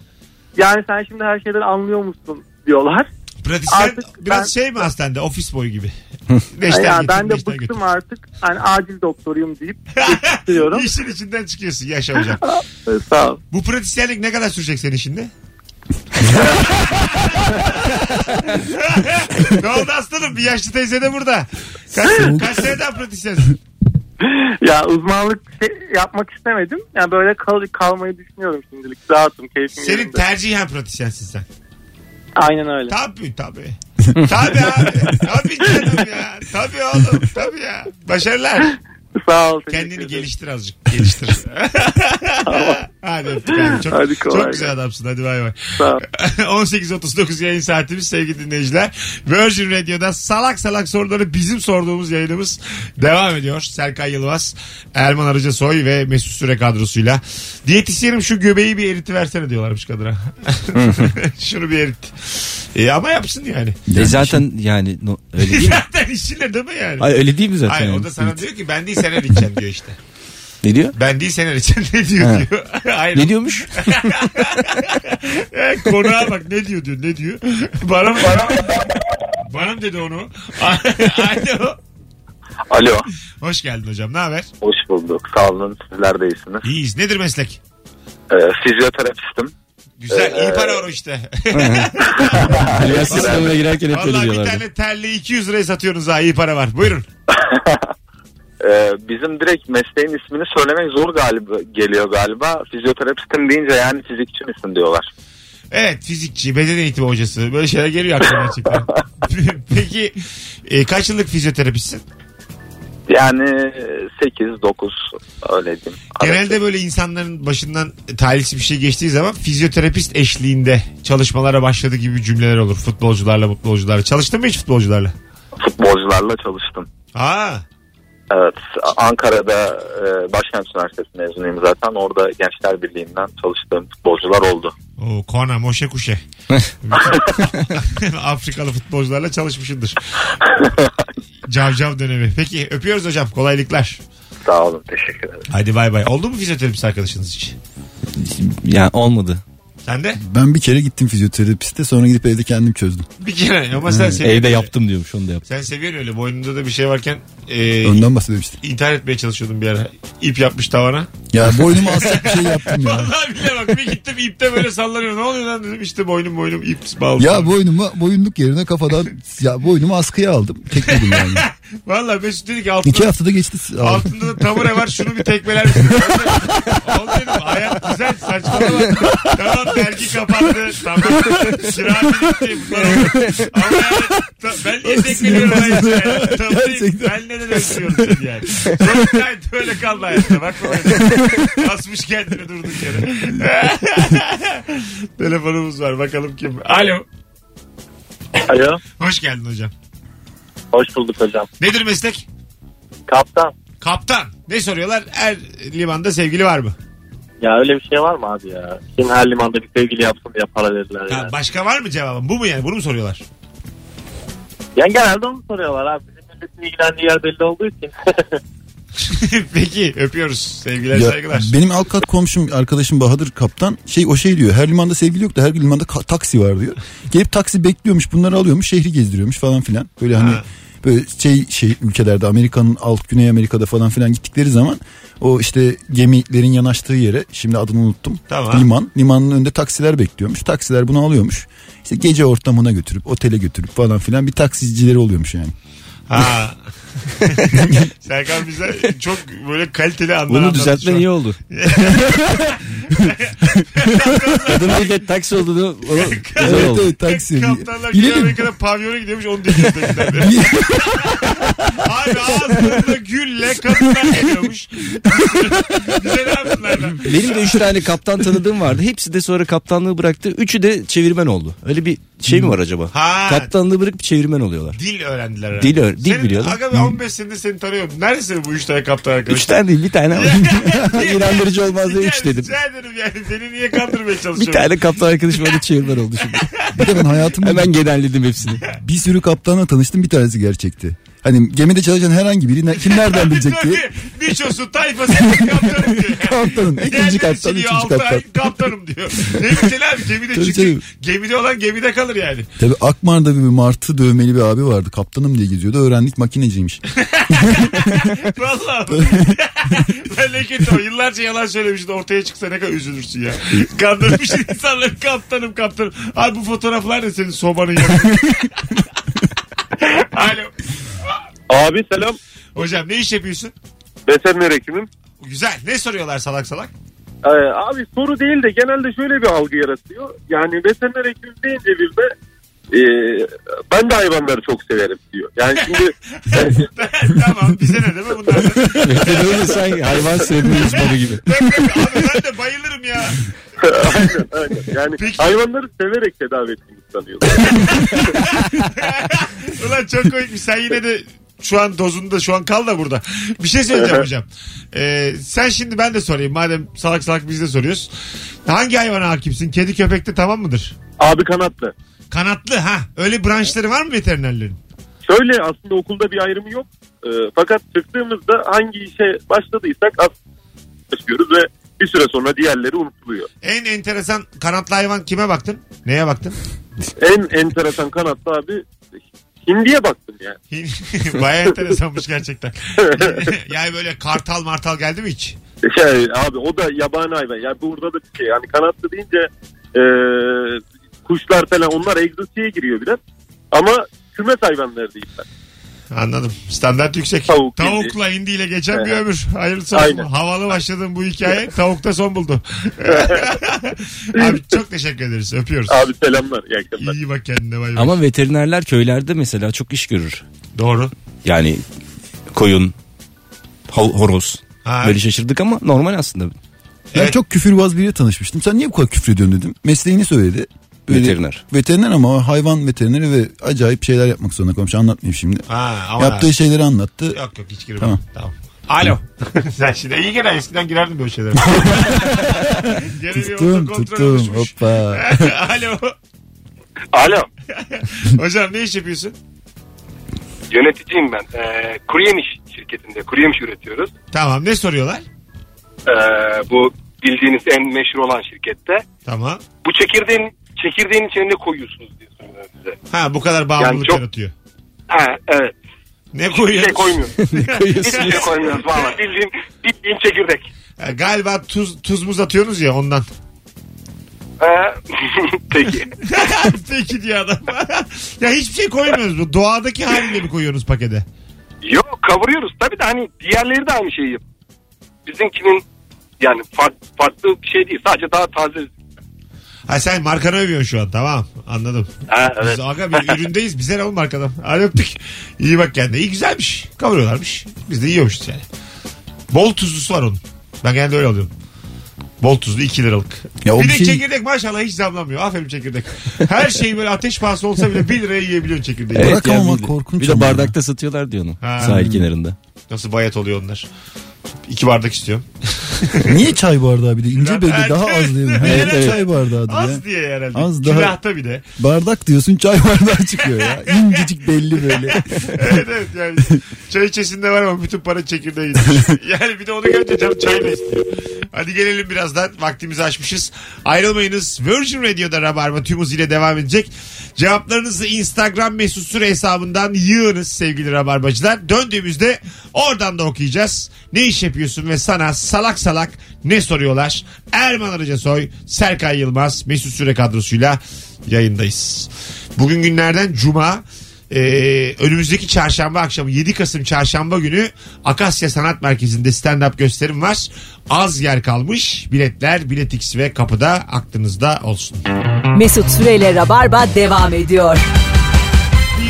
S5: Yani sen şimdi her şeyden anlıyor musun diyorlar.
S2: Pratisyen
S5: Artık
S2: biraz
S5: ben-
S2: şey mi hastanede? Ofis boyu gibi.
S5: Yani
S2: Beşten
S5: ben de
S2: beşten
S5: bıktım
S2: götür.
S5: artık. Hani acil doktoruyum deyip istiyorum.
S2: İşin içinden çıkıyorsun yaşa hocam.
S5: e, Sağ ol.
S2: Bu pratisyenlik ne kadar sürecek senin şimdi? ne oldu aslanım? Bir yaşlı teyze de burada. Kaç, kaç seneden pratisyensin?
S5: ya uzmanlık şey yapmak istemedim. Yani böyle kal kalmayı düşünüyorum şimdilik. Rahatım, keyfim
S2: Senin
S5: yerinde.
S2: tercihen pratisyensin sen.
S5: Aynen öyle.
S2: Tabii tabii. tabii abi. Tabii canım ya. Tabii oğlum. Tabii ya. Başarılar.
S5: Sağ ol. teşekkür
S2: Kendini
S5: ederim.
S2: geliştir azıcık. Geliştir. hadi öptük abi. Çok,
S5: Hadi kolay
S2: çok güzel adamsın. Hadi bay bay.
S5: Sağ ol.
S2: 18.39 yayın saatimiz sevgili dinleyiciler. Virgin Radio'da salak salak soruları bizim sorduğumuz yayınımız devam ediyor. Serkan Yılmaz, Erman Arıca Soy ve Mesut Süre kadrosuyla. Diyetisyenim şu göbeği bir eriti versene diyorlarmış kadına. Şunu bir erit. E ama yapsın yani.
S4: Yani
S3: E zaten yani no- öyle değil mi?
S2: Zaten işçiler değil mi yani?
S3: Hayır öyle değil mi zaten?
S2: Hayır
S3: yani?
S2: o da sana diyor ki ben değil sen eriteceğim diyor işte.
S3: Ne diyor?
S2: Ben değil sen eriteceksin ne diyor
S3: Ha.
S2: diyor. Hayır.
S3: Ne diyormuş?
S2: E, Konuğa bak ne diyor diyor ne diyor. Bana mı? Bana mı? Bana mı dedi onu? Alo.
S9: Alo.
S2: Hoş geldin hocam. Ne haber?
S9: Hoş bulduk. Sağ olun. Sizler de iyisiniz.
S2: İyiyiz. Nedir meslek?
S9: Ee, fizyoterapistim.
S2: Güzel. iyi para var o işte.
S3: Alias sistemine girerken hep öyle
S2: Vallahi bir
S3: diyorlardı.
S2: tane terliği 200 liraya satıyorsunuz ha. iyi para var. Buyurun.
S9: Ee, bizim direkt mesleğin ismini söylemek zor galiba geliyor galiba. Fizyoterapistim deyince yani fizikçi misin diyorlar.
S2: Evet fizikçi, beden eğitimi hocası. Böyle şeyler geliyor aklıma gerçekten. Peki e, kaç yıllık fizyoterapistsin?
S9: Yani 8-9 öyle diyeyim.
S2: Genelde böyle insanların başından talihsiz bir şey geçtiği zaman fizyoterapist eşliğinde çalışmalara başladı gibi cümleler olur. Futbolcularla, futbolcularla. Çalıştın mı hiç futbolcularla?
S9: Futbolcularla çalıştım.
S2: Aa,
S9: Evet Ankara'da e, Başkent Üniversitesi mezunuyum zaten. Orada Gençler Birliği'nden çalıştığım futbolcular oldu.
S2: o Kona, Moşe Kuşe. Afrikalı futbolcularla çalışmışındır. Cavcav dönemi. Peki öpüyoruz hocam. Kolaylıklar.
S9: Sağ olun teşekkür ederim.
S2: Hadi bay bay. Oldu mu fizyoterapist arkadaşınız hiç?
S3: Yani olmadı.
S2: Sen de?
S4: Ben bir kere gittim fizyoterapiste sonra gidip evde kendim çözdüm.
S2: Bir kere. Ama sen seviyorsun.
S3: Evde yaptım diyormuş onu da yaptım.
S2: Sen seviyorsun öyle. Boynunda da bir şey varken e,
S4: Ondan bahsetmiştim.
S2: intihar etmeye çalışıyordun bir ara. İp yapmış tavana.
S4: Ya boynuma asacak bir şey yaptım ya.
S2: Vallahi bile bak bir gittim ipte böyle sallanıyor. Ne oluyor lan dedim işte boynum boynum ip bağlı.
S4: Ya boynuma boyunluk yerine kafadan ya boynumu askıya aldım. Tekledim yani.
S2: Vallahi Mesut dedi ki
S4: İki
S2: altında,
S4: haftada geçti. Aldım.
S2: altında da tabure var şunu bir tekmeler misin? Ben de- Oğlum dedim hayat güzel saçmalama. tamam dergi kapandı. Tamam. Sıra bitti. Bunlar oldu. Ama yani ta- ben niye tekmeliyorum hayatı ya? Tabureyi
S4: Gerçekten.
S2: ben neden öpüyorum seni yani? Sonra gayet öyle kaldı hayatta. Bak böyle. Kasmış kendini durduk yere. Telefonumuz var bakalım kim. Alo.
S5: Alo.
S2: Hoş geldin hocam.
S5: Hoş bulduk hocam.
S2: Nedir meslek?
S5: Kaptan.
S2: Kaptan. Ne soruyorlar? Er limanda sevgili var mı?
S5: Ya öyle bir şey var mı abi ya? Kim her limanda bir sevgili yapsın diye para verirler
S2: Ha, başka var mı cevabın? Bu mu yani? Bunu mu soruyorlar?
S5: Yani genelde onu soruyorlar abi. Bizim milletin ilgilendiği yer belli olduğu için.
S2: Peki öpüyoruz. Sevgiler
S4: Ya,
S2: saygılar.
S4: benim alt kat komşum arkadaşım Bahadır Kaptan şey o şey diyor her limanda sevgili yok da her limanda ka- taksi var diyor. Gelip taksi bekliyormuş bunları alıyormuş şehri gezdiriyormuş falan filan. Böyle hani
S2: Ha.
S4: böyle şey şey ülkelerde Amerika'nın alt Güney Amerika'da falan filan gittikleri zaman o işte gemilerin yanaştığı yere şimdi adını unuttum.
S2: Tamam.
S4: Liman. Limanın önünde taksiler bekliyormuş. Taksiler bunu alıyormuş. İşte gece ortamına götürüp otele götürüp falan filan bir taksicileri oluyormuş yani.
S2: Ha. Serkan bize çok böyle kaliteli anlar
S3: Bunu
S2: anlattı şu
S3: düzeltmen
S2: an.
S3: iyi oldu. Kadın bir de taksi olduğunu onu güzel
S4: Evet
S3: oldu.
S4: evet taksi.
S2: Kaptanlar Güney
S4: Bilelim.
S2: Amerika'da pavyona gidiyormuş onu dinliyoruz. tekrar. Abi ağzında gülle kadınlar geliyormuş. Güzel abi bunlardan.
S3: Benim de üç tane kaptan tanıdığım vardı. Hepsi de sonra kaptanlığı bıraktı. Üçü de çevirmen oldu. Öyle bir şey mi var acaba?
S2: Ha.
S3: Kaptanlığı bırakıp çevirimen oluyorlar.
S2: Dil öğrendiler herhalde.
S3: Dil öğren- dil
S2: Senin
S3: biliyorlar.
S2: Aga ben 15 senedir seni tanıyorum. Neredesin bu üç tane kaptan arkadaş?
S3: Üç tane değil bir tane. İnandırıcı olmaz diye üç dedim.
S2: Rica ederim yani seni niye kandırmaya çalışıyorum?
S3: Bir tane kaptan arkadaşım oldu çevirmen oldu şimdi.
S4: Bir de ben hayatımda
S3: Hemen genelledim hepsini.
S4: Bir sürü kaptanla tanıştım bir tanesi gerçekti. Hani gemide çalışan herhangi biri ne- kim nereden bilecek ki?
S2: Niçosu tayfası kaptanım diyor.
S4: Kaptanım, ikinci
S2: Diğerleri
S4: kaptan,
S2: siliyor,
S4: üçüncü
S2: altı
S4: kaptan.
S2: ay kaptanım diyor. Ne güzel abi gemide
S4: Tabii
S2: çünkü
S4: canım.
S2: gemide olan gemide kalır yani.
S4: Tabii Akmar'da bir martı dövmeli bir abi vardı. Kaptanım diye geziyordu. Öğrendik makineciymiş.
S2: Vallahi. ben leket o. Yıllarca yalan söylemişti. Ortaya çıksa ne kadar üzülürsün ya. Kandırmış insanları kaptanım kaptanım. Abi bu fotoğraflar da senin sobanın yanında. Alo.
S5: abi selam.
S2: Hocam ne iş yapıyorsun?
S9: Veteriner hekimim.
S2: Güzel. Ne soruyorlar salak salak?
S9: Ee, abi soru değil de genelde şöyle bir algı yaratıyor. Yani veteriner hekim deyince bir de e, ben de hayvanları çok severim diyor. Yani şimdi e,
S2: tamam bize ne değil mi bunlar?
S3: Veteriner de sanki hayvan sevme uzmanı gibi.
S2: Abi ben de bayılırım ya.
S9: aynen aynen. Yani
S2: Peki.
S9: hayvanları severek tedavi ettiğini sanıyorlar.
S2: Ulan çok komikmiş. Sen yine de şu an dozunda şu an kal da burada. Bir şey söyleyeceğim hocam. Ee, sen şimdi ben de sorayım. Madem salak salak biz de soruyoruz. Hangi hayvana hakimsin? Kedi köpekte tamam mıdır?
S9: Abi kanatlı.
S2: Kanatlı ha. Öyle branşları var mı veterinerlerin?
S9: Şöyle aslında okulda bir ayrımı yok. Ee, fakat çıktığımızda hangi işe başladıysak aslında başlıyoruz ve bir süre sonra diğerleri unutuluyor.
S2: En enteresan kanatlı hayvan kime baktın? Neye baktın?
S9: En enteresan kanatlı abi Hindi'ye baktım yani.
S2: Baya enteresanmış gerçekten. yani böyle kartal martal geldi mi hiç?
S9: Şey, abi o da yabani hayvan. Yani burada da bir şey. Yani kanatlı deyince e, kuşlar falan onlar egzotiğe giriyor biraz. Ama kümes hayvanları değil. ben.
S2: Anladım. Standart yüksek.
S9: Tavuk,
S2: Tavukla indiyle geçen bir
S9: Evet.
S2: ömür. Hayırlısı olsun.
S9: Aynen.
S2: Havalı başladın bu hikaye. Tavukta son buldu. Abi çok teşekkür ederiz. Öpüyoruz.
S9: Abi selamlar. iyi akşamlar.
S2: İyi bak kendine. Bay bay.
S3: Ama veterinerler köylerde mesela çok iş görür.
S2: Doğru.
S3: Yani koyun, ho- horoz.
S2: Ha.
S3: Böyle şaşırdık ama normal aslında.
S4: Ben
S2: Evet.
S4: çok küfürbaz biriyle tanışmıştım. Sen niye bu kadar küfür ediyorsun dedim. Mesleğini söyledi.
S3: Veteriner.
S4: Veteriner ama hayvan veterineri ve acayip şeyler yapmak zorunda kalmış. Anlatmayayım şimdi.
S2: Ha, ama
S4: Yaptığı şeyleri anlattı.
S2: Yok yok hiç girme. Tamam.
S4: Tamam.
S2: Alo. Sen şimdi iyi gene eskiden girerdin böyle şeylere. Gene bir
S4: Tuttum
S2: otokontrol
S4: tuttum
S2: oluşmuş.
S4: hoppa.
S2: Alo.
S9: Alo.
S2: Hocam ne iş yapıyorsun?
S10: Yöneticiyim ben. Ee, kuru yemiş şirketinde kuru yemiş üretiyoruz.
S2: Tamam ne soruyorlar?
S10: Ee, bu bildiğiniz en meşhur olan şirkette.
S2: Tamam.
S10: Bu çekirdeğin çekirdeğin içine ne koyuyorsunuz diye soruyorlar bize.
S2: Ha bu kadar bağımlılık
S10: Yani çok-
S2: yaratıyor.
S10: Ha evet.
S2: Ne
S10: Bir şey
S2: koyuyorsun?
S10: koymuyoruz. Hiçbir şey koymuyoruz valla. Bildiğin, bildiğin çekirdek.
S2: Ha, E, Galiba tuz, tuz muz atıyorsunuz ya ondan.
S10: Ha, Peki.
S2: Peki diyor adam. ya hiçbir şey koymuyoruz. Bu doğadaki haliyle mi koyuyorsunuz pakete?
S10: Yok kavuruyoruz tabii de hani diğerleri de aynı şeyi yapıyor. Bizimkinin yani farklı, farklı bir şey değil. Sadece daha taze.
S2: Ha sen markanı övüyorsun şu an tamam anladım.
S10: Ha,
S2: Biz aga bir üründeyiz bize ne oğlum markadan. Hadi öptük. İyi bak kendine. İyi güzelmiş. Kavuruyorlarmış. Biz de yiyormuşuz yani. Bol tuzlusu var onun. Ben genelde öyle alıyorum. Bol tuzlu 2 liralık.
S4: Ya o
S2: bir
S4: bir
S2: de
S4: şey-
S2: çekirdek maşallah hiç zamlanmıyor. Aferin çekirdek. Her şey böyle ateş pahası olsa bile 1 liraya yiyebiliyorsun çekirdeği.
S4: Bırak ama
S3: bir de-
S4: korkunç
S3: Bir de
S4: ama ya.
S3: bardakta satıyorlar diyor onu.
S2: Ha.
S3: Sahil kenarında.
S2: Nasıl bayat oluyor onlar. 2 bardak istiyorum.
S4: Niye çay bardağı bir de? İnce belli daha az diyor.
S2: Evet,
S4: Evet,
S2: evet.
S4: Çay bardağıdır ya.
S2: Az diye herhalde.
S4: Az daha-
S2: Külahta bir de.
S4: Bardak diyorsun çay bardağı çıkıyor ya. İncecik belli böyle.
S2: evet evet yani çay içesinde var ama bütün para çekirdeğe gitmiş. yani bir de onu görünce canım çay da istiyor. Hadi gelelim birazdan vaktimizi aşmışız. Ayrılmayınız Virgin Radio'da Rabarba tüm ile devam edecek. Cevaplarınızı Instagram mesut süre hesabından yığınız sevgili Rabarbacılar. Döndüğümüzde oradan da okuyacağız. Ne iş yapıyorsun ve sana salak salak ne soruyorlar? Erman Arıca Soy, Serkay Yılmaz, Mesut Süre kadrosuyla yayındayız. Bugün günlerden Cuma. Ee, önümüzdeki çarşamba akşamı 7 Kasım çarşamba günü Akasya Sanat Merkezi'nde stand-up gösterim var. Az yer kalmış. Biletler Biletix ve kapıda aklınızda olsun.
S1: Mesut Süreyle Rabarba devam ediyor.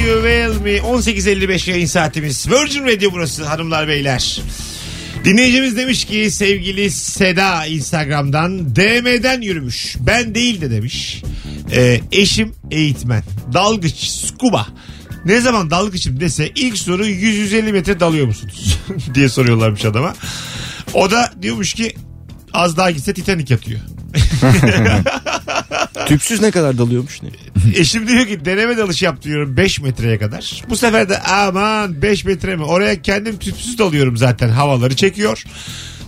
S2: You will me 18.55 yayın saatimiz. Virgin Radio burası hanımlar beyler. Dinleyicimiz demiş ki sevgili Seda Instagram'dan DM'den yürümüş. Ben değil de demiş. Ee, eşim eğitmen. Dalgıç scuba. Ne zaman dalgıçım dese ilk soru 100-150 metre dalıyor musunuz? diye soruyorlarmış adama. O da diyormuş ki az daha gitse Titanic yatıyor.
S3: Tüpsüz ne kadar dalıyormuş ne?
S2: Eşim diyor ki deneme dalışı yap diyorum 5 metreye kadar. Bu sefer de aman 5 metre mi? Oraya kendim tüpsüz dalıyorum zaten havaları çekiyor.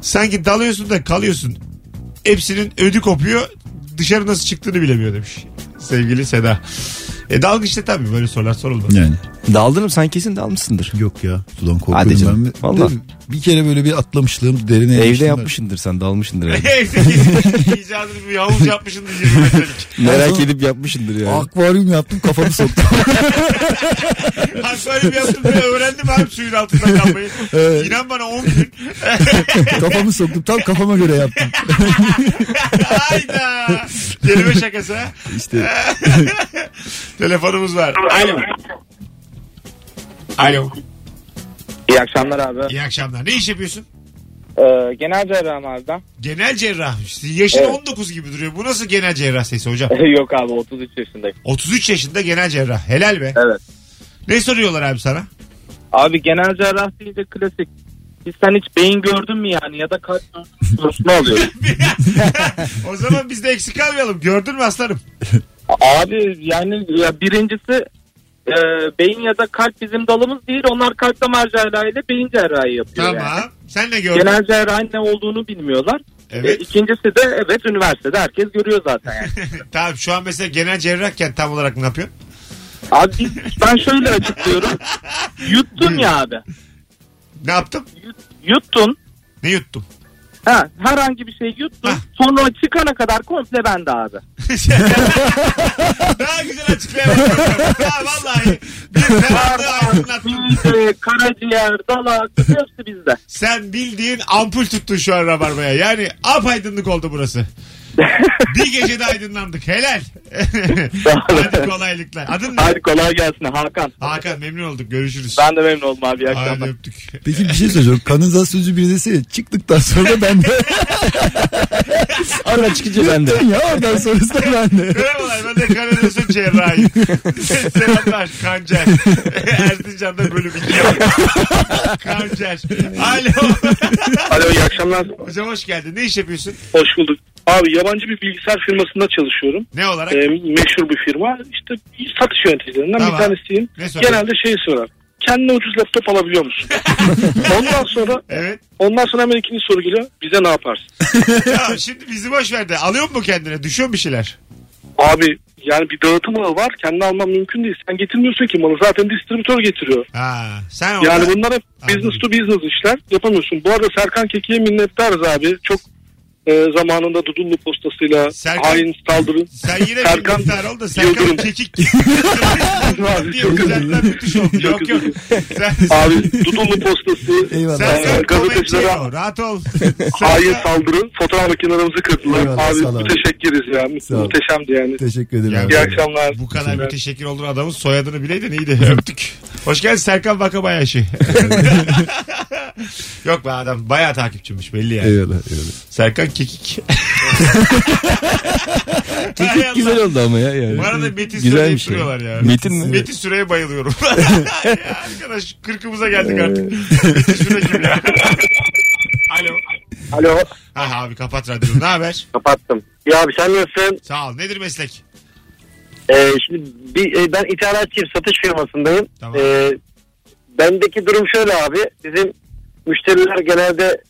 S2: Sanki dalıyorsun da kalıyorsun. Hepsinin ödü kopuyor. Dışarı nasıl çıktığını bilemiyor demiş. Sevgili Seda. E dalgıçta tabii böyle sorular sorulmaz.
S4: Yani.
S3: Daldın mı? Sen kesin dalmışsındır.
S4: Yok ya sudan
S3: Hadi
S4: korkuyorum
S3: canım,
S4: ben.
S3: vallahi.
S4: De- Bir kere böyle bir atlamışlığım derine
S3: Evde
S4: yapmışlığım var.
S3: yapmışındır sen dalmışındır evde.
S2: Evde kesin icadını bir yavuz yapmışsın 20 metrelik.
S3: Merak edip yapmışındır yani.
S4: Akvaryum yaptım kafamı soktum.
S2: Akvaryum yaptım diye öğrendim abi suyun altında kalmayı.
S4: Evet.
S2: İnan bana 10 gün.
S4: kafamı soktum tam kafama göre yaptım.
S2: Hayda. Kelime şakası ha.
S4: İşte
S2: Telefonumuz var. Alo. Alo.
S5: İyi akşamlar abi.
S2: İyi akşamlar. Ne iş yapıyorsun?
S5: Ee, genel cerrahım abi ben.
S2: Genel cerrah. Yaşın
S5: Evet.
S2: 19 gibi duruyor. Bu nasıl genel cerrah sesi hocam?
S5: Yok abi 33 yaşındayım.
S2: 33 yaşında genel cerrah. Helal be.
S5: Evet.
S2: Ne soruyorlar abi sana?
S5: Abi genel cerrah deyince klasik. Biz sen hiç beyin gördün mü yani ya da kalp gördün mü sorusunu alıyoruz.
S2: O zaman biz de eksik kalmayalım. Gördün mü aslanım?
S5: Abi yani ya birincisi e, beyin ya da kalp bizim dalımız değil. Onlar kalp damar cerrahiyle beyin cerrahi yapıyor yani.
S2: Tamam. Sen ne gördün?
S5: Genel cerrahın ne olduğunu bilmiyorlar. E,
S2: Evet.
S5: ikincisi de evet üniversitede herkes görüyor zaten yani.
S2: tamam şu an mesela genel cerrahken tam olarak ne yapıyorsun?
S5: Abi biz- ben şöyle açıklıyorum. Yuttun ya abi.
S2: Ne yaptım?
S5: Yut- Yuttun.
S2: Ne yuttum?
S5: Ha, herhangi bir şey yuttun.
S2: Hah.
S5: Sonra çıkana kadar komple bende abi.
S2: Daha güzel açıklayamıyorum. Ha, vallahi. Bir ferahlığı aydınlattın.
S5: Mide, karaciğer, dalak hepsi bizde.
S2: Sen bildiğin ampul tuttun şu an rabarbaya. Yani apaydınlık oldu burası. bir gecede aydınlandık. Helal. Hadi kolaylıklar. Adın ne?
S5: Hadi kolay gelsin Hakan.
S2: Hakan memnun olduk. Görüşürüz.
S5: Ben de memnun oldum abi. İyi
S2: Hadi
S5: akşamlar.
S2: öptük.
S4: peki bir şey söyleyeceğim. Kanalizasyon biri desene çıktıktan sonra ben de.
S3: Arada çıkınca ben de.
S4: Dön ya oradan sonrası da ben de.
S2: Merhabalar ben de Karadeniz'in cerrahiyim. Selamlar Kancer. Erzincan'da bölüm 2 Kancer. Alo.
S10: Alo iyi akşamlar.
S2: Hocam hoş geldin. Ne iş yapıyorsun?
S10: Hoş bulduk. Abi yabancı bir bilgisayar firmasında çalışıyorum.
S2: Ne olarak?
S10: Ee, meşhur bir firma. İşte satış yöneticilerinden
S2: Tamam.
S10: bir tanesiyim.
S2: Ne soruyor?
S10: Genelde şey sorar. Kendine ucuz laptop alabiliyor musun? ondan sonra
S2: Evet.
S10: ondan sonra hemen ikinci soru geliyor. Bize ne yaparsın?
S2: Ya şimdi bizi boş ver de. Alıyor mu kendine? Düşüyor mu bir şeyler?
S10: Abi yani bir dağıtım ağı var. Kendi almam mümkün değil. Sen getirmiyorsun ki malı. Zaten distribütör getiriyor.
S2: Ha, sen orada.
S10: Yani bunlar hep
S2: Anladım.
S10: business to business işler. Yapamıyorsun. Bu arada Serkan Keki'ye minnettarız abi. Çok e, zamanında Dudullu postasıyla
S2: Serkan-
S10: hain saldırı.
S2: Sen yine bir
S10: Serkan
S2: miktar ol da Serkan
S10: Yıldırım.
S2: kekik.
S10: Abi,
S2: diye güzelden müthiş oldu. Yok yok. Sen,
S10: Abi Dudullu postası.
S4: Eyvallah.
S2: Serkan komedi
S10: Gazetecilere-
S2: o. Rahat ol.
S10: Hain saldırı. Fotoğraf makinelerimizi kırdılar.
S4: Eyvallah,
S10: abi
S4: sağ ol abi.
S10: müteşekkiriz ya.
S4: Sağ ol.
S10: Müteşemdi yani.
S4: Teşekkür ederim.
S2: Ya,
S4: abi.
S10: İyi akşamlar.
S2: Bu kadar müteşekkir olduğun adamın soyadını bileydin iyiydi. Öptük. Hoş geldin Serkan Vakabayaşı. Yok be adam bayağı takipçimmiş belli yani.
S4: Eyvallah, eyvallah.
S2: Serkan Kekik. Hay Allah.
S3: Kekik güzel oldu ama ya. Yani.
S2: Bu arada Metin Süre'yi
S3: Güzel bir şey.
S2: sürüyorlar ya.
S3: Metin mi?
S2: Metin Süre'ye bayılıyorum. Ya Arkadaş kırkımıza
S3: Ee.
S2: geldik artık. Metin Süre kim ya? Alo.
S5: Alo
S2: Ha abi kapat radyonu. Ne haber?
S5: kapattım. Ya abi sen nasılsın?
S2: Sağ ol. Nedir meslek?
S5: Ee, şimdi bir, e, ben ithalatçıyım satış firmasındayım.
S2: Tamam.
S5: Ee, bendeki durum şöyle abi. Bizim müşteriler genelde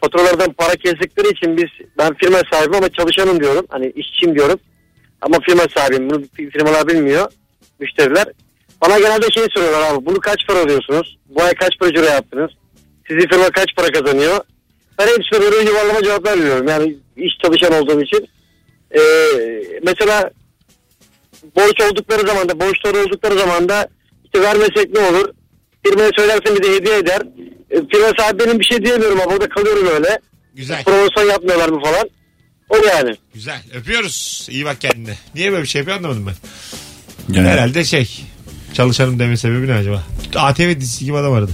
S5: faturalardan para kestikleri için biz ben firma sahibi ama çalışanım diyorum. Hani işçiyim diyorum. Ama firma sahibiyim. Bunu firmalar bilmiyor. Müşteriler. Bana genelde şey soruyorlar abi. Bunu kaç para alıyorsunuz? Bu ay kaç para ciro yaptınız? Sizin firma kaç para kazanıyor? Ben hepsine böyle yuvarlama cevaplar veriyorum. Yani iş çalışan olduğum için. Ee, mesela borç oldukları zaman da borçları oldukları zaman da işte vermesek ne olur? Firmaya söylersin bir de hediye eder. E, firma sahibi benim bir şey diyemiyorum ama orada kalıyorum öyle.
S2: Güzel.
S5: Promosyon yapmıyorlar mı falan. O yani.
S2: Güzel. Öpüyoruz. İyi bak kendine. Niye böyle bir şey yapıyor anlamadım ben.
S4: Yani-
S2: Herhalde şey. Çalışanım deme sebebi ne acaba? ATV dizisi gibi adam aradı.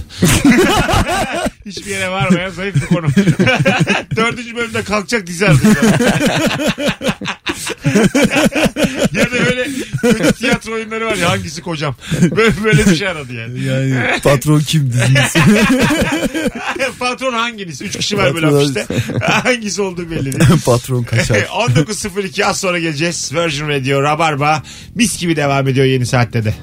S2: Hiçbir yere varmayan zayıf bir konu. Dördüncü bölümde kalkacak dizi aradı. ya da böyle kötü tiyatro oyunları var ya hangisi kocam? Böyle, böyle bir şey aradı yani.
S4: Yani patron kim dizisi.
S2: Patron hanginiz? Üç kişi var böyle
S4: Patron
S2: hapiste. hangisi olduğu belli değil.
S4: patron kaçar.
S2: 19.02 az sonra geleceğiz. Virgin Radio Rabarba mis gibi devam ediyor yeni saatte de.